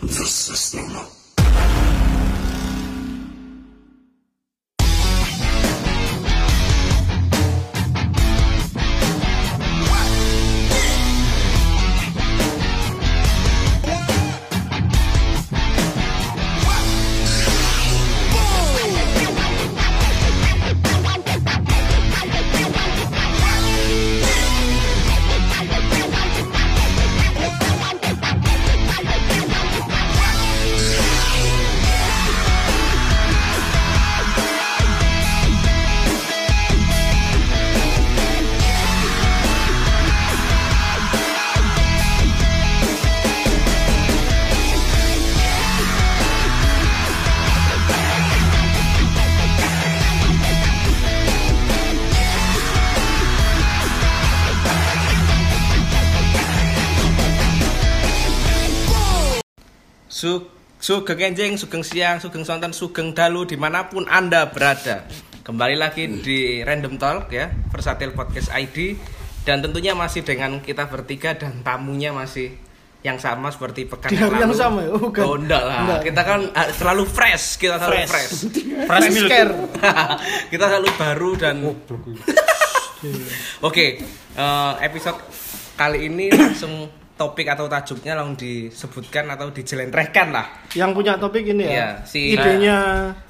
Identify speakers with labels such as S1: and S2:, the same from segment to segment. S1: the system.
S2: Su Sugeng Enjing, Sugeng Siang, Sugeng Sonten, Sugeng Dalu dimanapun Anda berada. Kembali lagi di Random Talk ya, Versatil Podcast ID dan tentunya masih dengan kita bertiga dan tamunya masih yang sama seperti pekan
S3: Di
S2: yang
S3: hari
S2: lalu.
S3: yang sama ya? Oh, bukan.
S2: Oh, enggak lah.
S3: Enggak.
S2: Kita kan ah, selalu fresh, kita selalu fresh.
S3: Fresh Oh, care.
S2: kita selalu baru dan Oke, eh, episode kali ini langsung topik atau tajuknya langsung disebutkan atau dijelentrehkan lah.
S3: Yang punya topik ini ya.
S2: Iya, si-
S3: idenya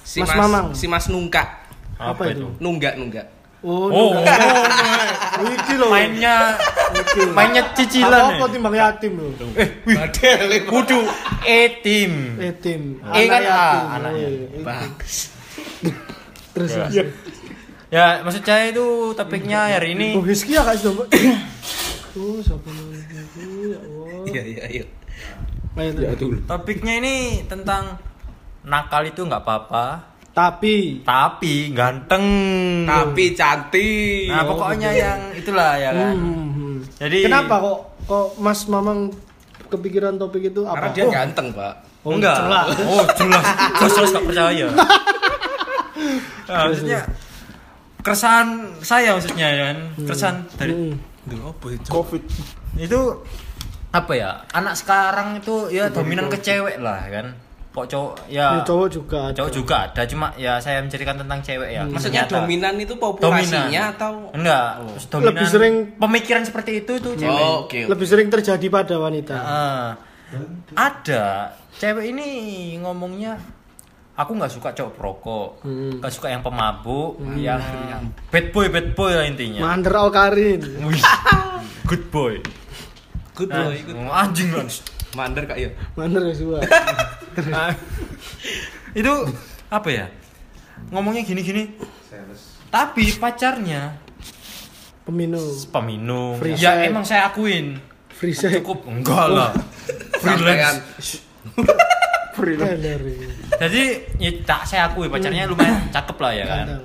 S2: si
S3: Mas, Mamang.
S2: si Mas Nungka
S3: apa itu?
S2: nunggak nunggak
S3: Oh,
S4: Oh,
S3: nunggu. Oh, iki lho.
S4: mainnya
S3: Iki.
S4: mainnya
S3: Apa
S4: cicilan. ya?
S3: apa timbang yatim lho.
S4: Kudu etim.
S3: Yatim.
S4: Eh, kan,
S3: yatim.
S4: ah,
S3: Oh,
S4: anak
S3: iya.
S2: bagus
S3: Terus
S4: Iya.
S3: terus.
S4: Ya, maksud saya itu topiknya hari ini.
S3: Oh, Rizky ya Kak sudah. Mbak? Tuh, siapa namanya? Eh, Tuh, ya Allah.
S2: iya iya iya
S3: Ayo, terus.
S4: Topiknya ini tentang nakal itu nggak apa-apa,
S3: Tapi
S4: tapi ganteng.
S2: tapi cantik
S4: Nah, pokoknya yang itulah ya kan.
S3: hmm, hmm.
S4: Jadi-
S3: kenapa kok kok Mas Mamang kepikiran topik itu
S2: karena
S3: apa?
S2: dia
S3: Oh,
S2: ganteng pak
S3: oh,
S4: enggak.
S3: celah.
S4: Oh, jelas. Jelas jelas nggak percaya. Nah, maksudnya keresahan saya maksudnya ya kan. Keresahan dari
S3: Hmm.
S1: Covid.
S4: itu apa ya? Anak sekarang itu ya dominan ke cewek lah kan. Kok cowok
S3: Ya,
S4: ya
S3: cowok juga Hmm. ada.
S4: cowok juga ada cuma ya saya menceritakan tentang cewek ya
S2: maksudnya
S4: Ternyata
S2: dominan itu
S4: dominan
S2: populasinya atau
S4: enggak dominan
S3: Lebih sering-
S4: pemikiran seperti itu tuh cewek
S2: Oh, oke
S3: Lebih sering terjadi pada wanita.
S4: Ah, ada cewek ini ngomongnya aku nggak suka cowok perokok
S3: Hmm.
S4: nggak suka yang pemabuk yang bad boy bad boy lah intinya
S3: Mander Al Karin.
S4: Wih, good boy
S2: good
S4: Nah,
S2: boy good
S4: anjing lah
S2: mander kak ya
S3: Mander Joshua.
S4: Ah, itu apa ya ngomongnya gini-gini tapi pacarnya
S3: Peminum.
S4: peminum
S3: Free
S4: ya
S3: sex.
S4: emang saya akuin
S3: Free sex.
S4: cukup enggak lah
S2: Sampean.
S4: freelance
S3: Teller ini.
S4: jadi ya tak saya akui pacarnya lumayan
S3: Hmm.
S4: cakep lah ya kan
S3: Ganteng.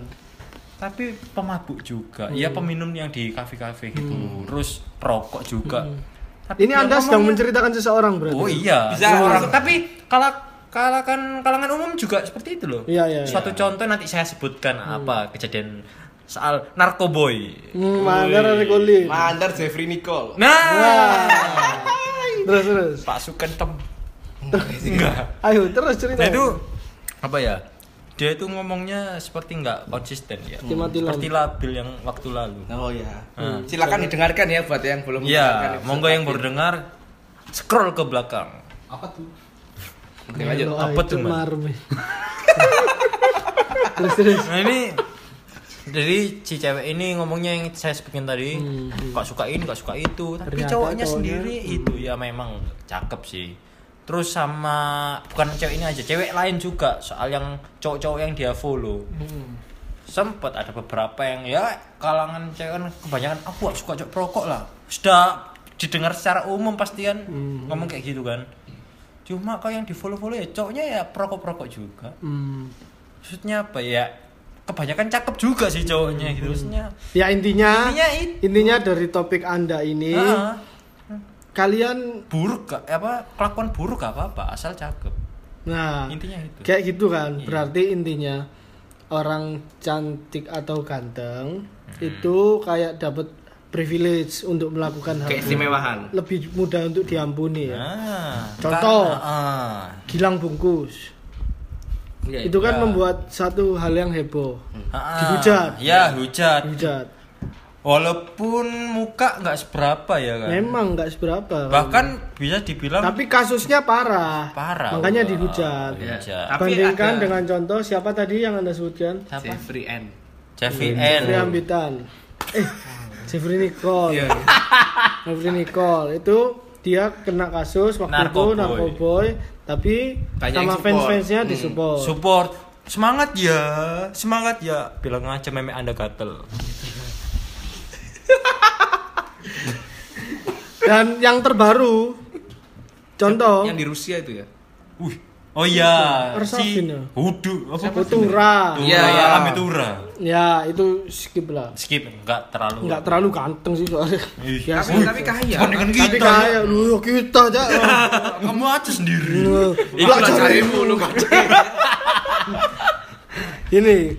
S4: tapi pemabuk juga ya
S3: Hmm.
S4: peminum yang di kafe kafe gitu terus rokok juga Tapi
S3: Hmm. Ini
S4: dia
S3: Anda sedang
S4: ngomongnya-
S3: menceritakan seseorang berarti.
S4: oh iya
S2: Bisa.
S4: seorang tapi kalau kalangan kalangan umum juga seperti itu loh
S3: Iya, iya,
S4: suatu contoh nanti saya sebutkan apa kejadian soal narkoboy
S3: Hmm, Mander Al Karin.
S2: mander Jeffrey Nicole
S4: nah
S3: Terus terus.
S4: pasukan tem enggak
S3: Ayo terus cerita.
S4: Nah itu apa ya? Dia itu ngomongnya seperti nggak konsisten ya.
S3: Seperti
S4: Seperti labil yang waktu lalu.
S2: oh ya silakan didengarkan ya buat yang belum
S4: Hmm. Iya,
S2: mendengarkan episode
S4: monggo yang
S2: tadi.
S4: baru dengar scroll ke belakang.
S2: oke lanjut
S3: Kalau
S4: apa
S3: itu
S4: tuh, Man?
S3: marmi. terus terus.
S4: Nah ini jadi si cewek ini ngomongnya yang saya sebutin tadi, nggak suka ini, nggak suka itu, tapi
S3: Ternyata cowoknya,
S4: cowoknya sendiri itu ya memang cakep sih. Terus sama bukan cewek ini aja, cewek lain juga soal yang cowok-cowok yang dia follow. Sempet ada beberapa yang ya kalangan cewek kan kebanyakan aku nggak suka cowok perokok lah. Sudah didengar secara umum pasti kan ngomong kayak gitu kan. Cuma kalau yang di follow-follow ya cowoknya ya perokok-perokok juga
S3: Hmm.
S4: maksudnya apa ya kebanyakan cakep juga sih cowoknya gitu maksudnya
S3: Ya intinya
S4: Intinya itu.
S3: intinya dari topik Anda ini
S4: ah,
S3: kalian
S4: buruk gak- apa kelakuan buruk gak apa-apa asal cakep
S3: nah
S4: intinya itu
S3: kayak gitu kan.
S2: Iya.
S3: Berarti intinya
S2: Hmm.
S3: orang cantik atau ganteng itu kayak dapat privilege untuk melakukan hal buruk.
S2: Keistimewaan. Nah.
S3: lebih mudah untuk diampuni ya.
S4: Ah,
S3: Contoh.
S4: kan- ah.
S3: Gilang bungkus.
S2: Iya,
S3: itu kan
S4: iya.
S3: membuat satu hal yang heboh.
S4: Ah,
S3: Dihujat.
S4: Ya, hujat.
S3: Hujat.
S4: Walaupun muka nggak seberapa ya
S2: Hmm.
S4: kan.
S3: Memang nggak seberapa.
S4: Bahkan bisa dibilang
S3: Tapi kasusnya parah.
S4: Parah.
S3: Makanya
S4: Wah.
S3: dihujat.
S2: Iya.
S4: Iya.
S2: Tapi
S3: Bandingkan
S2: ada
S3: dengan contoh siapa tadi yang Anda sebutkan?
S4: siapa?
S2: Jeffrey N.
S4: Jeffrey
S3: Jeffrey
S4: N.
S3: Ambitan. Eh, Jeffrey
S2: Hmm.
S3: Nicole.
S2: Iya.
S3: Jeffrey Nicole itu dia kena kasus waktu itu
S4: Narkoboy.
S3: narkoboy, tapi
S2: Banyak
S3: sama
S2: yang support.
S3: fans-fansnya
S2: Hmm.
S3: disupport.
S4: Support. Semangat ya. Semangat ya. Bilang aja meme Anda gatel.
S3: Dan yang terbaru contoh
S2: Yang di Rusia itu ya.
S4: Wih. Oh iya, si
S3: Arsafin ya?
S4: Hudu apa
S3: Putura.
S4: Tura,
S2: Iya, iya.
S4: Ambil Tura.
S3: Ya, itu skip lah.
S4: Skip enggak terlalu.
S3: Enggak terlalu ganteng sih soalnya.
S4: Ih,
S3: Ya,
S2: Tapi tapi kaya.
S4: Kan dengan
S2: gitu.
S3: Tapi
S4: kita.
S3: kayak lu kita aja.
S4: Eh, Kamu aja sendiri.
S3: Lu,
S2: Iku lah carimu lu gak
S3: ini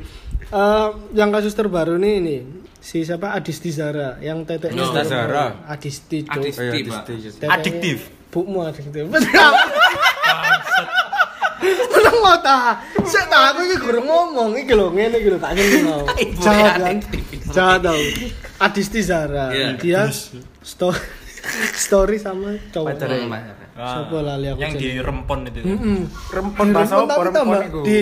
S3: eh, yang kasus terbaru nih ini si siapa Adisti Zara yang teteknya
S2: No.
S3: Zara.
S2: Adisti
S3: Adisti
S1: Zara.
S3: Cuk.
S2: Adisti, Pak.
S3: Teteknya-
S4: Adiktif.
S3: bukmu adiktif betul Tenang mau ta, saya tak aku ini kurang ngomong ini loh, ini gitu tak kenal mau.
S2: Ibu
S3: Jahat
S2: ya,
S3: kan?
S2: adiktif.
S3: Jahat tau. Adisti Zara,
S2: Iya.
S3: dia story story sama cowok.
S1: ya?
S3: Siapa lali aku
S4: Nah, Ah, Yang
S3: jenenge?
S4: dirempon itu.
S3: Mm-mm.
S1: Rempon bahasa
S3: Rempon
S1: apa
S3: tapi
S1: rempon
S3: tambah
S1: iku?
S3: di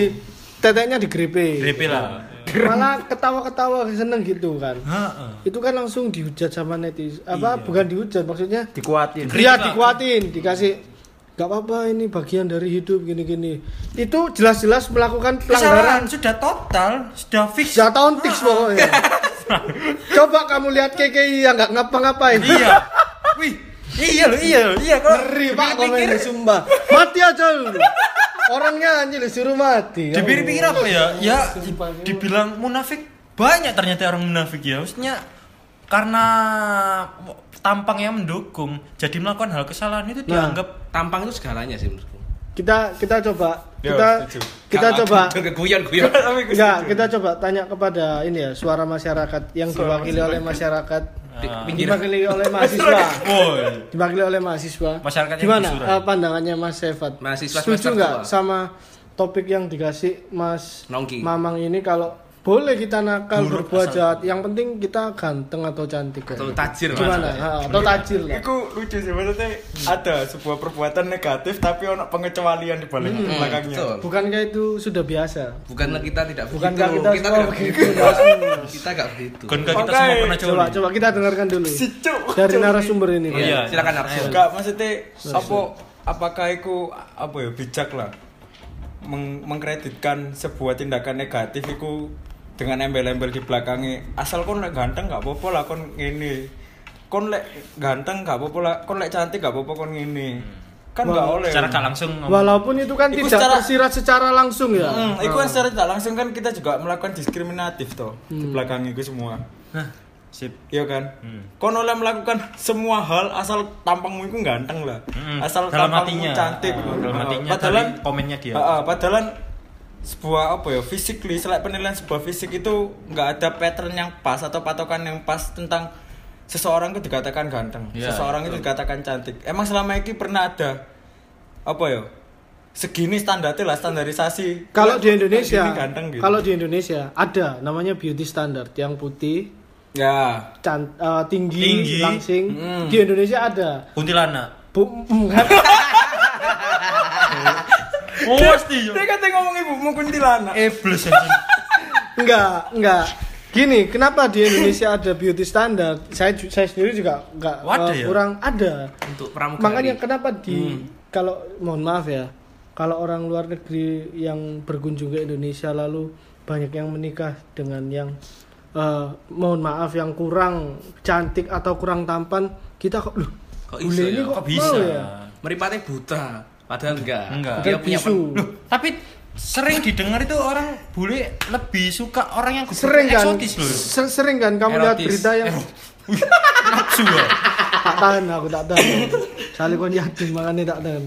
S3: teteknya digrepe.
S4: DP
S3: Iya.
S4: lah.
S3: malah ketawa-ketawa seneng gitu kan
S4: Heeh.
S3: itu kan langsung dihujat sama netizen apa bukan dihujat maksudnya
S1: Dikuatin.
S4: Kritik
S3: dia
S4: lah.
S3: Iya, dikuatin dikasih gak apa-apa ini bagian dari hidup gini-gini itu jelas-jelas melakukan
S4: Kesalahan
S3: pelanggaran
S4: sudah total, sudah fix.
S3: sudah tahun tiks pokoknya coba kamu lihat KKI yang gak ngapa-ngapain
S4: iya. Wih. Iya loh, iya loh, iya kalau
S3: ngeri pak
S4: dipikir-
S3: komennya sumpah mati aja lu orangnya anjir disuruh mati
S4: Dipikir-pikir apa ya? Ya di-
S3: Iya, Sumpah, ini
S4: dibilang munafik banyak ternyata orang munafik ya. Maksudnya karena tampangnya mendukung, jadi melakukan hal kesalahan itu
S3: Nah.
S4: dianggap
S2: Tampang itu segalanya sih menurutku.
S3: kita kita coba
S1: Yo,
S3: kita
S1: setuju.
S3: kita
S2: Kalau
S3: coba
S2: aku Keguyon-guyon.
S3: Enggak, kita coba tanya kepada ini ya suara masyarakat yang diwakili oleh masyarakat,
S2: Di pinggir.
S3: diwakili oleh mahasiswa,
S4: Woi.
S3: diwakili oleh mahasiswa.
S4: Masyarakat yang
S3: gimana
S4: disuruh.
S3: eh, pandangannya Mas Sefat?
S2: Mahasiswa semester
S3: Setuju nggak
S2: tua.
S3: sama topik yang dikasih Mas
S2: Nongki.
S3: Mamang ini kalau boleh kita nakal
S4: Buruk
S3: berbuat
S4: asal.
S3: jahat, yang penting kita ganteng atau cantik ya.
S2: Atau tajir, Mas.
S3: gimana? Ha, atau tajir lah.
S1: Iku lucu sih maksudnya ada sebuah perbuatan negatif tapi ono pengecualian di balik di belakangnya.
S2: Hmm. Betul.
S3: Bukankah itu sudah biasa?
S2: Bukanlah kita tidak begitu.
S3: Bukankah kita semua
S2: tidak
S3: begitu,
S2: begitu.
S3: Mas?
S2: Kita enggak begitu.
S4: Kan kita
S1: Oke.
S4: semua pernah
S3: Coba
S4: coli.
S3: coba kita dengarkan dulu
S1: Si Cuk.
S3: dari
S1: Cuk.
S3: narasumber ini. Pak.
S4: Iya.
S2: Iya, silakan Arsul.
S1: Enggak maksudnya apa apakah iku apa ya bijak lah meng- mengkreditkan sebuah tindakan negatif iku dengan embel-embel di belakangnya asal kon lek ganteng gak apa-apa lah kon ngene kon lek ganteng gak apa-apa lah kon lek cantik gak apa-apa kon ngene kan gak oleh
S4: Secara nggak langsung ngomong.
S3: Walaupun itu kan tidak
S1: Itu secara-
S3: tersirat secara langsung ya.
S1: Hmm, itu kan secara tidak langsung kan kita juga melakukan diskriminatif toh di
S4: Hmm.
S1: belakang itu semua.
S4: Hah, Sip.
S1: Iya kan?
S4: Hmm.
S1: Kon oleh melakukan semua hal asal tampangmu itu ganteng lah.
S4: Mm-mm.
S1: Asal
S4: Hmm. Dalam
S1: tampangmu
S4: hatinya.
S1: cantik.
S4: Ah, dalam
S1: Ah,
S4: hatinya dari komennya dia.
S1: Ah, ah, padahal sebuah apa ya physically selain penilaian sebuah fisik itu nggak ada pattern yang pas atau patokan yang pas tentang seseorang itu dikatakan ganteng,
S4: Iya,
S1: seseorang itu dikatakan cantik. Emang selama ini pernah ada apa ya? Segini standarnya lah standarisasi.
S3: Kalau di
S1: Kayak
S3: Indonesia,
S1: gini ganteng gitu.
S3: kalau di Indonesia ada namanya beauty standard yang putih,
S1: ya
S3: can- eh, tinggi,
S4: Tinggi.
S3: langsing.
S2: Hmm.
S3: Di Indonesia ada.
S4: Kuntilanak.
S3: Bu, enggak.
S4: Oh, pasti.
S1: Dia katanya kan ngomong ibumu kuntilanak.
S3: Eh,
S4: Iblis anjing.
S3: enggak, enggak. Gini, kenapa di Indonesia ada beauty standard? Saya ju- saya sendiri juga enggak
S4: Oh, ada
S3: eh,
S4: ya?
S3: kurang ada.
S2: Untuk pramugari.
S3: Makanya kenapa
S2: Hmm.
S3: di kalau mohon maaf ya, kalau orang luar negeri yang berkunjung ke Indonesia lalu banyak yang menikah dengan yang eh, mohon maaf yang kurang cantik atau kurang tampan, kita kok loh
S2: Kok
S3: bule
S2: iso
S3: ini
S2: ya?
S3: kok,
S4: Kok
S3: bisa
S4: bisa?
S3: ya?
S2: meripatnya buta padahal enggak
S4: Enggak.
S2: dia
S3: Padahal
S2: punya
S3: bisu.
S2: pen-
S4: Loh, tapi sering didengar itu orang bule lebih suka orang yang
S3: Sering kan?
S4: eksotis loh.
S3: ser- Sering kan kamu lihat
S2: Erotis.
S3: berita yang
S4: Nafsu ya.
S3: tak tahan aku tak tahan. Soalnya kon yakin makanya tak tahan.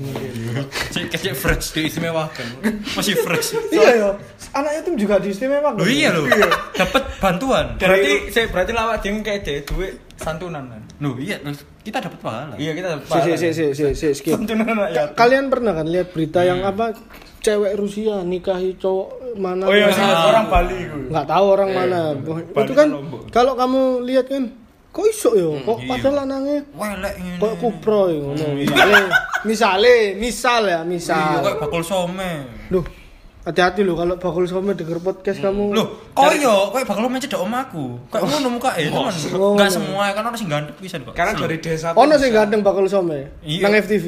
S4: Cek kecek fresh
S2: diistimewakan
S4: masih fresh.
S3: Iya ya, anak itu
S4: iya
S3: juga diistimewakan.
S4: Loh iya loh. Dapat bantuan.
S1: berarti saya berarti lawak dia kayak dia duit santunan kan
S4: Loh, iya, kita dapat pahala.
S1: iya kita dapat
S3: Si,
S1: pahala.
S3: si, si, si, si, skip.
S1: santunan anak
S3: Ka-
S1: yatim.
S3: Kalian pernah kan lihat berita yang apa cewek Rusia nikahi cowok mana?
S1: oh iya
S3: yang-
S1: sih,
S4: Ah.
S1: orang Bali gue
S3: nggak tahu orang mana.
S1: Bali
S3: itu kan
S1: ke Lombok.
S3: kalau kamu lihat kan, kok iso yo, kok padahal anangnya
S4: Welek ini.
S3: kok kupro yo. Misale, misale, misal ya,
S4: Iya,
S3: misal.
S4: kayak bakul some.
S3: Duh, hati-hati loh kalau bakul sama denger podcast kamu.
S4: Loh, koyo, kayak bakul some cedok omaku. Kayak ngono muka eh, teman.
S3: Oh.
S4: Enggak semua, kan orang sing gandeng pisan kok.
S1: karena dari desa ya.
S3: Ono sing gandeng bakul some
S4: Iya.
S3: nang FTV.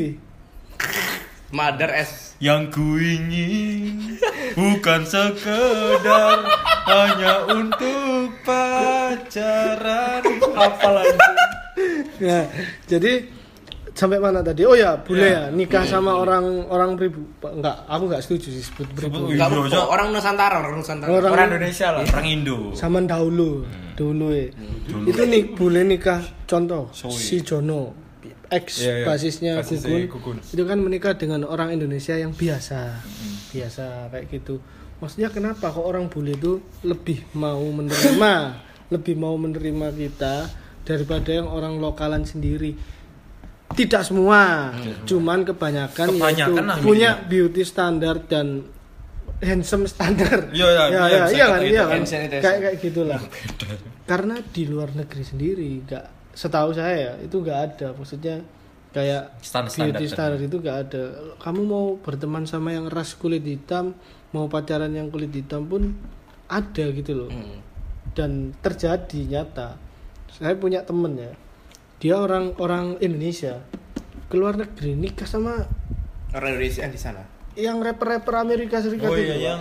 S2: Mother S.
S4: Yang ku ingin bukan sekedar hanya untuk pacaran.
S1: apalagi
S3: Nah, jadi sampai mana tadi? Oh ya, boleh ya nikah sama orang orang pribu. Enggak, aku enggak setuju sih sebut pribu.
S2: Enggak
S4: Iya,
S2: apa-apa,
S4: Cok.
S2: orang Nusantara, orang Nusantara.
S3: Orang,
S1: orang Indonesia lah
S4: Orang Indo.
S3: zaman
S4: Hmm.
S3: dahulu, dulu ya. Itu nih boleh nikah contoh si Jono ex
S1: Iya, iya.
S3: basisnya
S1: Basisnya
S3: Gugun.
S1: Gugun.
S3: Itu kan menikah dengan orang Indonesia yang biasa.
S4: Hmm.
S3: Biasa kayak gitu. Maksudnya kenapa kok orang bule itu lebih mau menerima, lebih mau menerima kita daripada yang orang lokalan sendiri? Tidak semua, cuman kebanyakan, yaitu
S4: Iya. Kebanyakan lah,
S3: punya beauty standar dan handsome standar.
S4: Iya, iya,
S3: ya,
S4: iya,
S3: ya,
S4: bisa
S3: iya kan,
S4: kata
S3: iya
S4: itu,
S3: kan.
S2: hand sanitizer.
S3: Kayak kayak gitulah. Karena di luar negeri sendiri nggak setahu saya ya, itu nggak ada. Maksudnya kayak
S4: Standar-standar
S3: beauty
S4: tadi.
S3: standar itu nggak ada. Kamu mau berteman sama yang ras kulit hitam, mau pacaran yang kulit hitam pun ada gitu loh.
S4: Hmm.
S3: Dan terjadi nyata. Saya punya temen ya. Dia orang orang Indonesia. Keluar negeri nikah sama
S2: Orang Indonesia di sana.
S3: yang rapper-rapper Amerika Serikat
S4: Oh
S3: itu. Pak.
S4: iya, yang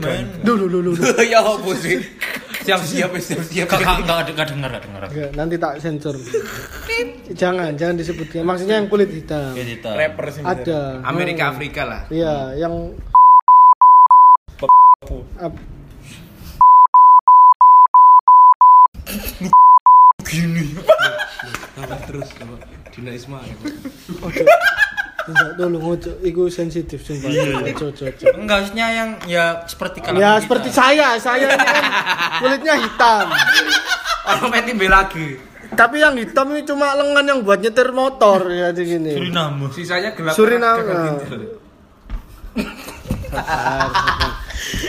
S1: Nigan.
S3: Duh, duh, duh, duh, duh.
S2: ya apa sih? Siap-siap, siap-siap.
S4: Kakak enggak enggak dengar, enggak dengar.
S3: Enggak, nanti tak sensor. jangan, jangan disebutkan. Maksudnya yang kulit hitam.
S4: Oke, Dita.
S1: rapper sih
S3: Ada.
S2: Amerika Afrika lah.
S3: Iya, yang Ap-
S2: terus Dina Ismail.
S3: enggak tolong ojo, iku sensitif sumpah. Ojo, ojo, ojo.
S4: Enggak harusnya yang ya seperti kalangan
S3: Ya
S4: kita.
S3: seperti saya, saya ini kan kulitnya hitam.
S2: Orang pengen B lagi.
S3: Tapi yang hitam ini cuma lengan yang buat nyetir motor ya di gini.
S4: Suriname.
S2: Sisanya gelap.
S3: Suriname.
S2: Gagal tidur.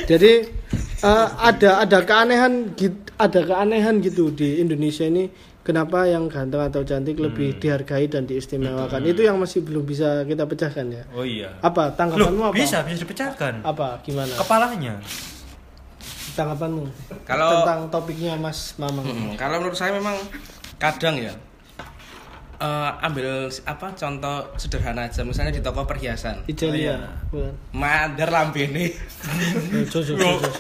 S3: Jadi eh, ada ada keanehan git- ada keanehan gitu di Indonesia ini kenapa yang ganteng atau cantik lebih
S4: Hmm.
S3: dihargai dan diistimewakan itu yang masih belum bisa kita pecahkan ya.
S4: Oh iya.
S3: Apa tanggapanmu
S4: Loh,
S3: apa?
S4: bisa bisa dipecahkan.
S3: Apa gimana?
S4: Kepalanya.
S3: Tanggapanmu
S2: Kalau
S3: tentang topiknya Mas Mamang.
S2: Hmm, kalau menurut saya memang kadang ya eh, ambil s- apa contoh sederhana aja misalnya di toko perhiasan
S4: Oh, iya.
S3: Ijelia. Bukan.
S2: Madar Lambene
S3: Eh, Jo, jo, jo, jo, jo.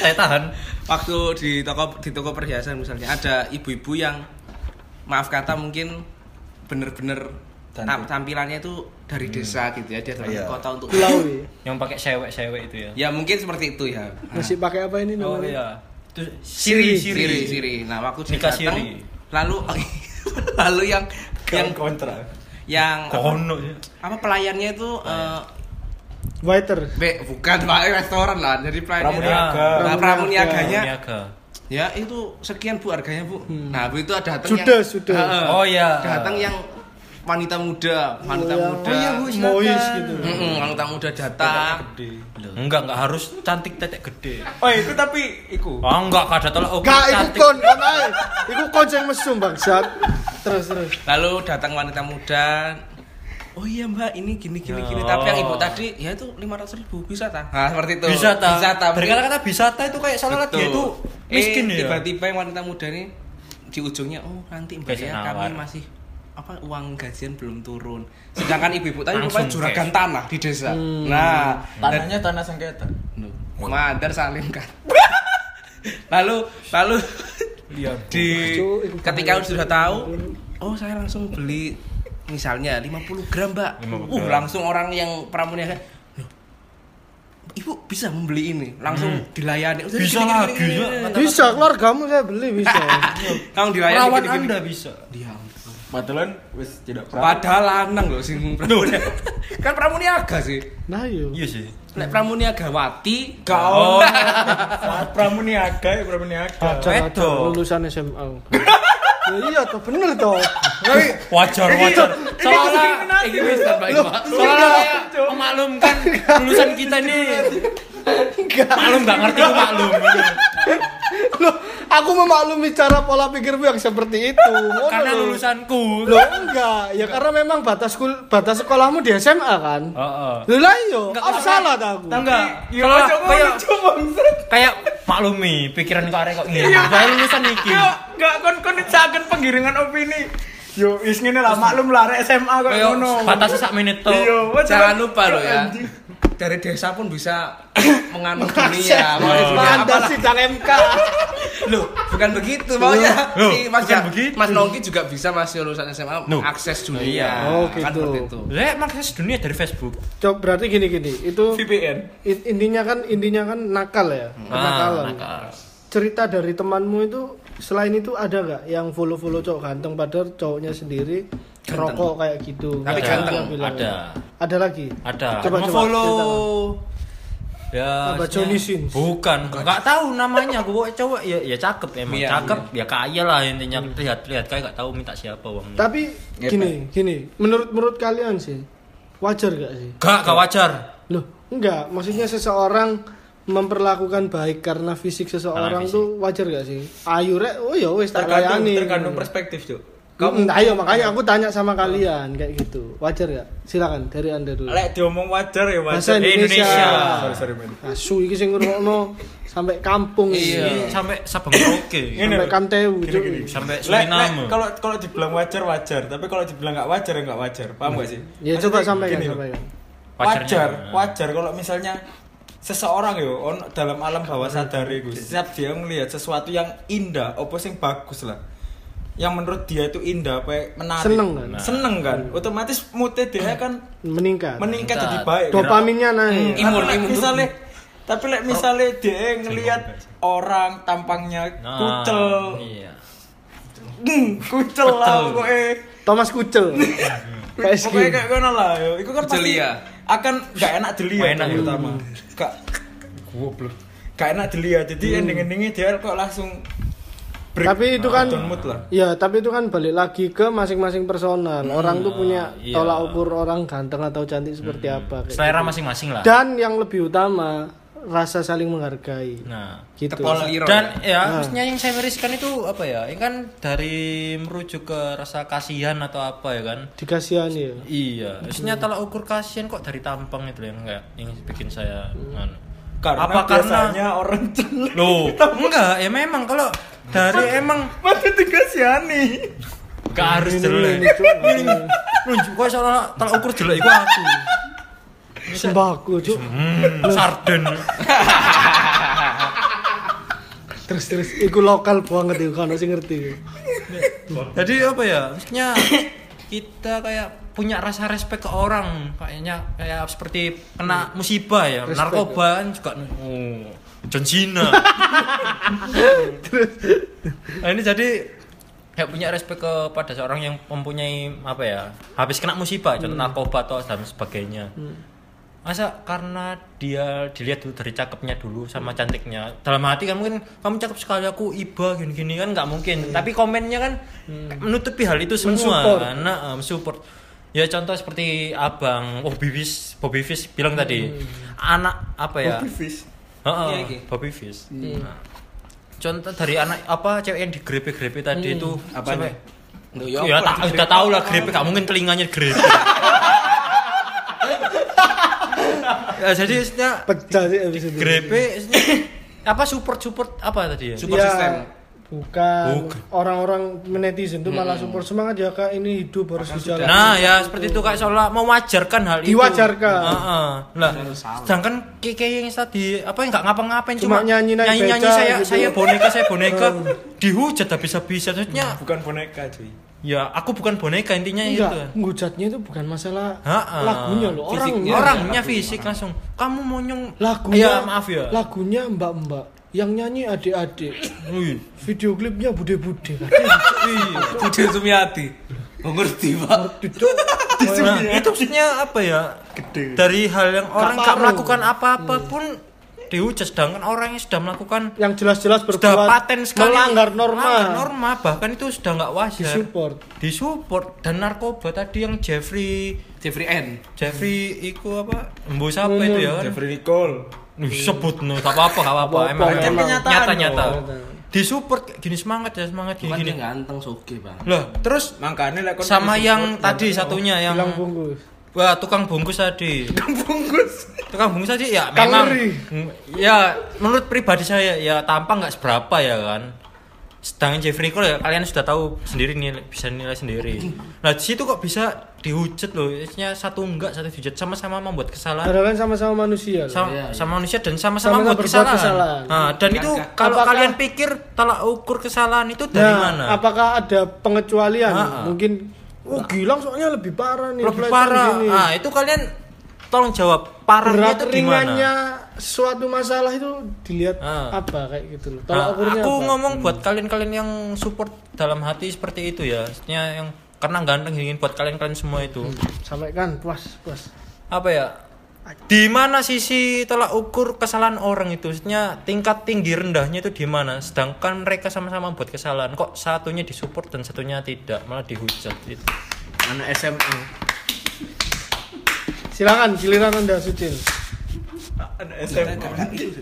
S4: Saya tahan.
S2: waktu di toko di toko perhiasan misalnya ada ibu-ibu yang maaf kata mungkin bener-bener tam- tampilannya itu dari desa gitu ya dia dari kota untuk
S3: Kulawi.
S4: Yang pakai sewek-sewek itu
S2: ya
S4: ya.
S2: mungkin seperti itu ya Nah,
S3: Masih pakai apa ini
S4: Oh
S3: namanya?
S4: iya. Itu siri siri.
S2: siri siri nah waktu dia
S4: Nikah
S2: datang,
S4: siri.
S2: lalu lalu yang yang
S1: yang kontra
S2: yang
S4: Kono ya.
S2: apa pelayannya itu eh,
S3: Waiter.
S2: Be, bukan pak restoran lah jadi pelayannya
S1: Pramuniaga.
S2: nah, pramuniaganya
S4: Niaga.
S2: ya itu sekian bu harganya bu
S4: Hmm.
S2: nah bu itu ada datang
S3: Sudah,
S2: yang
S3: sudah.
S2: Heeh.
S4: Oh, iya.
S2: datang ya. yang wanita muda wanita muda
S1: Oh iya,
S3: Mois gitu.
S2: Mm-mm, wanita muda datang
S1: gede
S4: Enggak, enggak harus cantik tetek gede.
S1: oh itu tapi iku
S4: Oh enggak, kada tolak oke
S3: Gak, iku
S4: cantik.
S3: kon, kon ae. Iku kon sing mesum bangsat. Terus terus.
S2: lalu datang wanita muda oh iya mbak ini gini gini gini tapi yang ibu tadi ya itu lima ratus ribu bisa tak nah seperti itu
S4: Bisa ta.
S2: bisa tak
S4: Berkata-kata bisa ta itu kayak seolah-olah dia itu miskin ya.
S2: Eh, tiba-tiba yang wanita muda ini di ujungnya oh nanti mbak
S4: Kayak
S2: ya
S4: nawar.
S2: kami masih apa uang gajian belum turun sedangkan ibu-ibu tadi
S4: Langsung
S2: rupanya juragan
S4: cash.
S2: tanah di desa nah dan
S1: tanahnya tanah sengketa
S2: madar salim kan lalu lalu
S4: Iya,
S2: di ketika sudah tahu oh saya langsung beli misalnya 50 gram mbak
S4: 50
S2: uh
S4: gram.
S2: langsung orang yang pramuniaga "Loh, ibu bisa membeli ini langsung dilayani "Udah,
S4: Hmm. Bisa
S2: gini, gini,
S4: lagi
S2: gini,
S4: ya.
S2: gini."
S3: Bisa keluargamu saya beli bisa.
S2: Kamu dilayani
S4: Perawan
S2: gini, gini.
S4: Anda bisa.
S2: Ya ampun.
S1: Padahal wis tidak pernah.
S2: Padahal lanang loh sing pramuniaga. kan pramuniaga sih.
S3: Nah yo.
S4: Iya sih. Oh.
S2: Lek pramuniaga wati
S1: Kau pramuniaga ya pramuniaga.
S4: Wedo.
S3: Kacau lulusan SMA. Ya iya toh bener toh.
S4: Wajar wajar.
S2: soalnya ini wis terbaik, Pak.
S4: Soalnya kayak memaklumkan lulusan kita nih. Maklum nggak ngerti aku maklum.
S3: Loh, aku memaklumi cara pola pikirmu yang seperti itu.
S1: Oh,
S3: Ngono
S4: Karena
S3: loh.
S4: lulusanku.
S3: Loh enggak, ya karena memang batas kul- batas sekolahmu di SMA kan.
S4: Heeh.
S3: Loh lah yo,
S4: Oh. Enggak,
S3: apa
S4: karena-
S3: salah ta aku?
S4: Enggak.
S1: Iya, ojo ngono,
S4: kayak
S1: Cuk, bangsat. Iya.
S4: kayak maklumi pikiran kok arek kok ngene. Baru lulusan iki.
S1: Yo, gak kon kon nisaken penggiringan opini. Yo, is ngene lah maklum lah rek SMA kok
S2: Kayak
S1: ngono.
S4: Batasnya sak menit tuh.
S1: Iya, wajar.
S2: Jangan lupa loh ya.
S1: Anjing.
S2: Dari desa pun bisa menganut
S4: Iya,
S2: dunia. Makanya sudah
S3: Anda
S2: apalah.
S3: sidang MK.
S2: Loh, bukan begitu maunya.
S4: Loh,
S2: Si Mas
S4: bukan
S2: Ja-
S4: begitu.
S2: Mas Nongki juga bisa masih lulusan SMA
S4: Loh.
S2: akses dunia.
S4: Iya.
S3: Oh,
S2: Kan
S3: gitu.
S2: seperti itu.
S4: Lek maksudnya dunia dari Facebook.
S3: Coba berarti gini-gini, itu
S1: VPN.
S3: i- intinya kan intinya kan nakal ya,
S4: Ah,
S3: kenakalan. Cerita dari temanmu itu selain itu ada nggak yang follow-follow cowok ganteng padahal cowoknya sendiri rokok kayak gitu.
S2: Tapi
S3: Nggak
S2: ganteng,
S3: yang bilang.
S4: ada.
S3: Ada lagi.
S4: Ada.
S3: Coba
S4: Mau
S3: coba
S4: follow.
S3: ceritakan.
S4: Ya,
S3: Apa,
S4: maksudnya-
S3: Johnny Sins?
S4: Bukan, nggak tahu namanya. Gue cowok ya, ya cakep emang,
S2: Iya,
S4: cakep ya kaya lah intinya. Lihat lihat kayak nggak tahu minta siapa uangnya.
S3: Tapi gini, gini, menurut menurut kalian sih wajar gak sih?
S4: Gak, gak wajar.
S3: Loh, enggak, maksudnya seseorang memperlakukan baik karena fisik seseorang
S4: Karena fisik.
S3: tuh wajar gak sih? Ayu rek, oh ya wis tak
S1: Tergantung
S3: layani.
S1: tergantung perspektif, Cuk.
S3: Kamu ayo makanya aku tanya sama kalian kayak gitu. Wajar gak? Silakan dari Anda dulu.
S1: Lek diomong wajar ya
S3: Bahasa
S1: wajar.
S4: Indonesia.
S3: Indonesia.
S1: Sorry, sorry, men.
S3: Asu iki sing ngrungokno sampai kampung iki.
S4: Iya. Sampai Sabang Merauke,
S1: Ini
S3: Sampai
S1: loh.
S3: Kamtewu. Cuk.
S4: sampai
S1: Lek, lek,
S4: Suriname.
S1: kalau kalau dibilang wajar wajar, tapi kalau dibilang nggak wajar ya nggak wajar, paham gak sih?
S3: Ya coba
S1: Maksudnya
S3: sampaikan,
S1: gini loh.
S3: sampaikan.
S4: Wajarnya
S1: wajar
S4: gimana?
S1: wajar kalau misalnya seseorang yo on dalam alam bawah sadar itu setiap dia melihat sesuatu yang indah apa sing bagus lah yang menurut dia itu indah apa menarik
S3: Seneng kan? Nah.
S1: seneng kan otomatis moodnya dia kan
S3: Meningkat.
S1: meningkat Hmm.
S4: Meningkat.
S1: jadi baik
S3: Dopaminnya naik.
S1: Tapi
S2: Imun,
S1: lek
S2: imun.
S1: misalnya tapi lek misalnya dia ngelihat orang tampangnya
S4: Nah,
S1: kucel
S4: Iya.
S1: Hmm, kucel lah pokoknya
S3: Thomas Kucel. PSG.
S1: Hmm. Pokoknya kayak ngono lah, yo. Iku kan pasti
S2: Celia.
S1: akan gak enak dilihat
S4: Gak enak,
S1: kan,
S4: yo.
S1: pertama. Gak goblok. Gak enak dilihat. Jadi ending-endingnya dia kok langsung break.
S3: Hmm. Tapi itu kan
S1: down mood lah. Hmm.
S3: Ya, tapi itu kan balik lagi ke masing-masing personal. Orang tuh punya
S4: iya.
S3: tolak ukur orang ganteng atau cantik seperti
S1: Hmm.
S3: apa. kayak
S4: Selera
S3: gitu.
S4: masing-masing lah.
S3: Dan yang lebih utama rasa saling menghargai.
S1: Hmm.
S4: Nah,
S3: gitu.
S2: Tepol liro.
S4: dan ya maksudnya yang saya miriskan itu apa ya? Ini kan dari merujuk ke rasa kasihan atau apa ya kan?
S3: Dikasihani ya.
S4: Iya, maksudnya tolak ukur kasihan kok dari tampang itu yang enggak yang bikin saya nganu.
S1: Karena
S4: apa karena
S1: biasanya orang jelek.
S4: Loh, enggak ya memang kalau dari emang
S1: Mati dikasihani.
S4: gak harus
S1: ya.
S3: ini,
S4: jelek.
S3: Cuk.
S4: Ini nunjuk kok soalnya tolak ukur jelek iku aku.
S3: Sembako, Cuk.
S4: Hmm, sarden.
S3: Terus terus iku lokal banget iku kan sing ngerti.
S4: Jadi apa ya? Maksudnya kita kayak punya rasa respect ke orang kayaknya kayak seperti kena musibah ya
S3: Respect,
S4: narkoba kan juga oh John Cena nah, ini jadi kayak punya respect kepada seorang yang mempunyai apa ya habis kena musibah contoh narkoba atau dan sebagainya masa karena dia dilihat dulu dari cakepnya dulu sama cantiknya dalam hati kan mungkin kamu cakep sekali aku iba gini gini kan nggak mungkin tapi komennya kan menutupi hal itu semua
S3: Mensupport.
S4: karena eh, mensupport ya contoh seperti abang oh Fish Bobby Fish bilang tadi anak apa ya
S1: Bobby Fish.
S4: Heeh,
S2: Iya, iki.
S4: Bobby Fish Nah, contoh dari anak apa cewek yang digrepe-grepe tadi itu
S1: Apanya?
S4: sampai-
S2: Loh,
S4: ya,
S2: Hmm. apa
S4: tak udah tahu lah grepe gak mungkin telinganya grepe Ya, jadi maksudnya
S3: Pecah sih habis itu.
S4: grepe maksudnya apa support support apa tadi ya
S2: Support
S3: Ya,
S2: system.
S3: Bukan
S4: Bukan.
S3: orang-orang netizen tuh malah support semangat ya kak ini hidup harus dijalani.
S4: nah ya seperti itu kayak seolah mewajarkan hal itu
S3: Diwajarkan.
S4: Heeh. lah sedangkan keke yang tadi apa yang nggak ngapa-ngapain
S3: Cuma
S4: cuma,
S3: nyanyi naik
S4: nyanyi,
S3: beca
S4: saya
S3: gitu. Oh.
S4: saya boneka saya boneka dihujat habis-habisan maksudnya
S2: Hmm.
S1: Bukan boneka, cuy.
S4: ya aku bukan boneka intinya
S3: Enggak,
S4: itu
S3: ngujatnya itu bukan masalah
S4: Ha-ha.
S3: lagunya loh, orangnya.
S4: Fisiknya, orangnya fisik langsung. Kamu monyong.
S3: Lagunya,
S4: Ya, maaf ya.
S3: Lagunya mbak-mbak, yang nyanyi adik-adik.
S4: Wih.
S3: Video klipnya bude-bude.
S2: Budi Sumiati.
S5: Nggak ngerti pak
S4: Nah, itu maksudnya apa ya? Dari hal yang orang nggak melakukan apa-apa
S3: Iya.
S4: pun dihujat sedangkan orang yang sudah melakukan
S3: yang jelas-jelas
S4: sudah
S3: berbuat
S4: paten sekali
S3: melanggar norma
S4: melanggar norma bahkan itu sudah nggak wajar
S3: disupport
S4: disupport dan narkoba tadi yang Jeffrey
S2: Jeffrey N.
S4: Jeffrey
S3: Hmm.
S4: iku apa embo apa itu ya kan
S1: Jeffrey Nicole
S4: Ih, sebut no gak apa-apa gak apa-apa
S3: Apa-apa,
S4: emang
S3: kan
S4: emang.
S1: kenyataan
S4: nyata
S1: dong.
S4: nyata disupport kayak gini semangat ya semangat gini
S2: Bukan
S4: gini
S2: dia ganteng soge bang.
S4: lah terus
S1: makanya lah kon-
S4: sama ya. yang tadi satunya Iya, yang
S3: bilang bungkus
S4: Wah, tukang bungkus tadi. Tukang bungkus. Tukang bungkus tadi ya
S3: Kang
S4: memang
S3: Ri.
S4: Mm, ya menurut pribadi saya ya tampang nggak seberapa ya kan. Sedangkan Jeffrey Cole ya kalian sudah tahu sendiri nih bisa nilai sendiri. Nah, di situ kok bisa dihujat loh. Isinya satu enggak, satu dihujat sama-sama membuat kesalahan.
S3: padahal kan sama-sama manusia loh.
S4: Sama, sama manusia dan sama-sama
S3: Sama-sama
S4: membuat
S3: berbuat
S4: kesalahan.
S3: kesalahan.
S4: Nah, dan itu kalau
S3: Apakah-
S4: kalian pikir tolak ukur kesalahan itu dari
S3: Nah,
S4: mana?
S3: apakah ada pengecualian
S4: Ah, ah.
S3: mungkin oh Gilang soalnya lebih parah nih
S4: Lebih
S3: pelecehan
S4: parah.
S3: gini.
S4: Nah, itu kalian tolong jawab
S3: berat
S4: parahnya itu di mana?
S3: ringannya suatu masalah itu dilihat
S4: Ah.
S3: apa kayak gitu loh
S4: Nah,
S3: tolak ukurnya
S4: aku
S3: apa? Hmm.
S4: ngomong buat kalian-kalian yang support dalam hati seperti itu ya. Maksudnya yang karena ganteng ingin buat kalian-kalian semua itu.
S3: Hmm. sampaikan puas puas
S4: Apa ya? Di mana sisi tolak ukur kesalahan orang itu? Maksudnya tingkat tinggi rendahnya itu di mana? Sedangkan mereka sama-sama buat kesalahan kok satunya disupport dan satunya tidak, malah dihujat gitu.
S2: Anak SMA.
S3: silakan giliran anda Sucil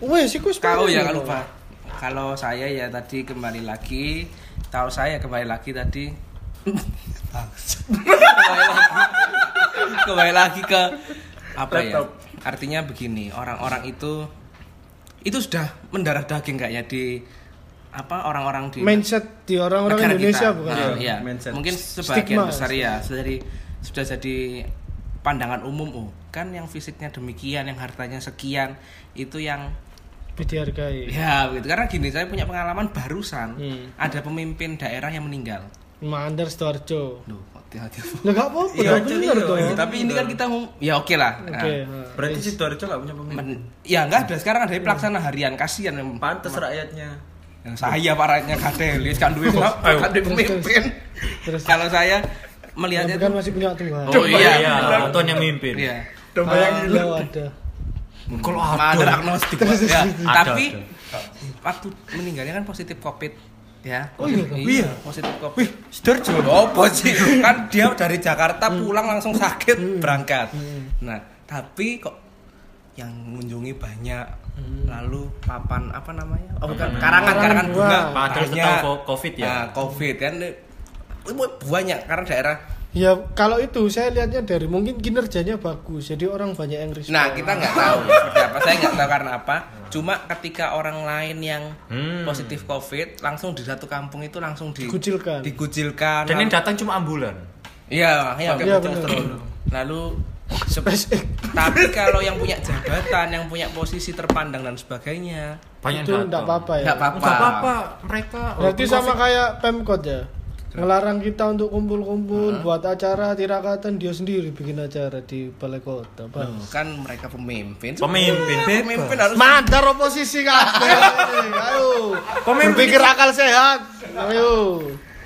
S3: wes iku
S2: Kau
S3: sebenarnya
S2: ya
S3: loh.
S2: kalau Pak. Kalau saya ya tadi kembali lagi, kalau saya kembali lagi tadi kembali lagi kembali lagi ke apa ya? Artinya begini, orang-orang itu itu sudah mendarah daging kayaknya di apa orang-orang di
S3: mindset di orang-orang
S2: negara
S3: Indonesia
S2: kita.
S3: bukan ya?
S2: Nah,
S1: Iya,
S2: iya.
S1: mindset.
S2: Mungkin sebagian
S3: Stigma.
S2: besar ya sudah jadi sudah jadi pandangan umum oh kan yang fisiknya demikian yang hartanya sekian itu yang
S3: lebih dihargai
S2: ya begitu karena gini saya punya pengalaman barusan
S3: Hmm.
S2: ada pemimpin daerah yang meninggal
S3: Mandar Sidoarjo
S2: Loh, kok hati-hati.
S3: Lah gak apa-apa, gak Ya, bener toh.
S2: tapi ini kan Iya, kita ngom- ya oke lah Nah,
S3: Oke. nah.
S1: berarti si Sidoarjo nggak punya pemimpin
S2: men- ya enggak ada sekarang ada pelaksana harian kasihan yang
S1: pantes rakyatnya
S2: yang saya parahnya kadel wis kan duwe kok kan duwe pemimpin
S3: Terus.
S2: kalau saya
S3: Yang
S2: melihatnya
S3: bukan kan masih punya Tuhan.
S2: Oh, iya.
S4: Tuhan ya, yang mimpin.
S2: Iya.
S3: Domba yang gila ada.
S4: Kalau
S2: Mandor Hmm. agnostik. Pak. Ya,
S4: Ada,
S2: tapi waktu meninggalnya kan positif Covid ya.
S3: Oh, iya,
S2: iya, positif Covid. Wih, Sidoarjo. Apa sih? Kan dia dari Jakarta pulang langsung sakit berangkat. Nah, tapi kok yang mengunjungi banyak lalu papan apa namanya? Oh, bukan karangan karangan
S3: Karangan
S2: bunga.
S3: bunga.
S4: Padahal
S2: banyak.
S4: tentang ko- Covid ya.
S2: Nah, Covid kan eh, banyak karena daerah
S3: Ya kalau itu saya lihatnya dari mungkin kinerjanya bagus. Jadi orang banyak yang respect.
S2: Nah kita nggak tahu seperti apa. Saya nggak tahu karena apa. Cuma ketika orang lain yang
S4: Hmm.
S2: positif COVID langsung di satu kampung itu langsung di,
S3: Dikucilkan.
S2: dikucilkan.
S4: Dan yang datang cuma ambulan.
S2: Iya, iya.
S3: Iya,
S2: pakai
S3: bener.
S2: bocor. Lalu se- tapi kalau yang punya jabatan, yang punya posisi terpandang dan sebagainya,
S4: Banyak
S3: itu
S4: yang
S3: enggak
S4: datang.
S3: apa-apa ya.
S2: nggak apa-apa.
S4: Enggak apa-apa, mereka
S3: Berarti sama kayak Pemkot ya. Ngelarang kita untuk kumpul-kumpul buat acara tirakatan dia sendiri bikin acara di balai kota. Pak.
S2: Kan mereka pemimpin.
S4: Pemimpin,
S2: Sebenarnya
S4: bebas.
S2: pemimpin harus
S3: Mandar oposisi kabeh. Ayo. Berpikir akal sehat. Ayo.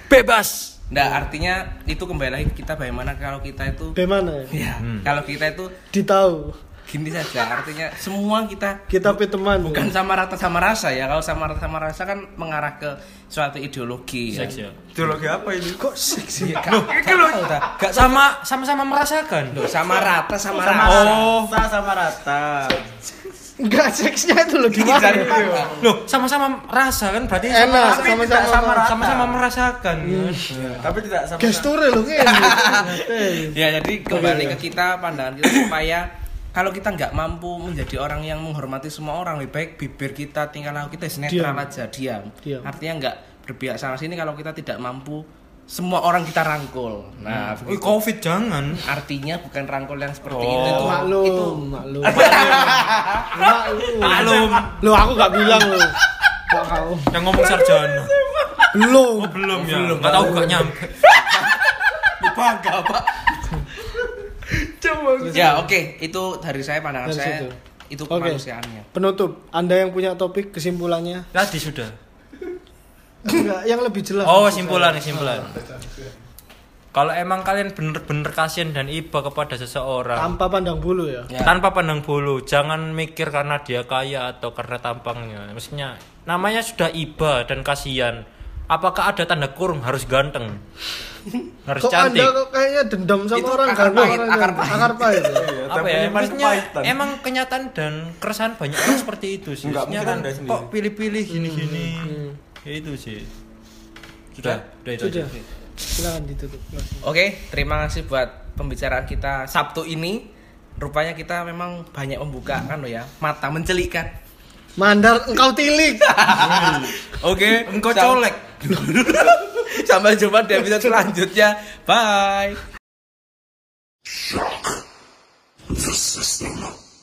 S4: bebas.
S2: Nah, artinya itu kembali lagi kita bagaimana kalau kita itu
S3: Bagaimana? ya?
S2: ya,
S4: Hmm.
S2: kalau kita itu
S3: Ditahu.
S2: gini saja artinya semua kita
S3: Kita pe teman.
S2: bukan sama rata sama rasa ya kalau sama rata sama rasa kan mengarah ke suatu ideologi ya.
S1: ideologi apa ini
S3: Kok seksi?
S2: Iya, Kak. Kak, tahu tak?
S4: Gak sama sama-sama merasakan.
S2: Loh, sama rata sama rasa
S1: oh sama rata
S3: Enggak seksnya itu loh gimana?
S2: Dari mana?
S4: Loh, sama-sama rasa kan berarti
S3: Enak,
S4: sama-sama-
S3: tapi
S4: sama-sama
S3: tidak sama rata.
S4: sama-sama merasakan. kan?
S1: tapi tidak sama
S3: Gesture loh ngene.
S2: ya jadi kembali ke kita pandangan kita supaya kalau kita nggak mampu menjadi orang yang menghormati semua orang lebih baik bibir kita tingkah laku kita sinetron
S3: Diam.
S2: aja diam.
S3: Diam.
S2: artinya nggak berpihak sana sini kalau kita tidak mampu semua orang kita rangkul nah
S4: Wih,
S2: begitu.
S4: Covid jangan.
S2: artinya bukan rangkul yang seperti
S4: Oh.
S2: itu itu itu
S3: maklum, maklum. maklum. Maklum. Lo aku gak bilang lo. Kok kau?
S4: Yang ngomong sarjana.
S3: Belum.
S4: Oh, belum ya. Enggak tahu gak nyampe.
S2: bangga pak ya oke itu dari saya pandangan
S3: Dari
S2: saya
S3: situ.
S2: itu
S3: Oke.
S2: kemanusiaannya
S3: Penutup, Anda yang punya topik kesimpulannya?
S4: Tadi sudah.
S3: Enggak, yang lebih jelas.
S4: Oh, simpulan, simpulan. Kalau emang kalian bener-bener kasihan dan iba kepada seseorang
S3: tanpa pandang bulu ya
S2: Ya.
S4: tanpa pandang bulu, jangan mikir karena dia kaya atau karena tampangnya. Maksudnya namanya sudah iba dan kasihan. Apakah ada tanda kurung harus ganteng? Harus
S3: kok
S4: cantik.
S3: anda kok kayaknya dendam sama
S2: Itu
S3: orang
S2: akar
S3: karena
S2: pahit,
S3: orangnya
S2: akar pahit.
S3: akar pahit ya?
S1: Iya,
S4: apa
S1: tapi
S4: ya
S1: emang
S4: maksudnya
S1: kepahitan.
S4: emang kenyataan dan keresahan banyak orang seperti itu sih
S1: Enggak,
S4: Maksudnya
S1: mungkin
S4: kan
S1: Anda sendiri.
S4: kok pilih-pilih
S2: Hmm. 嗯
S4: gini-gini ya itu sih sudah sudah itu
S3: sudah
S4: aja.
S3: silakan ditutup kelasnya.
S2: Oke, terima kasih buat pembicaraan kita Sabtu ini. Rupanya kita memang banyak membuka kan lo ya, mata mencelikan.
S3: mandar engkau tilik
S2: Oke, engkau colek. Sampai jumpa di episode selanjutnya. Bye.
S5: Shock the system.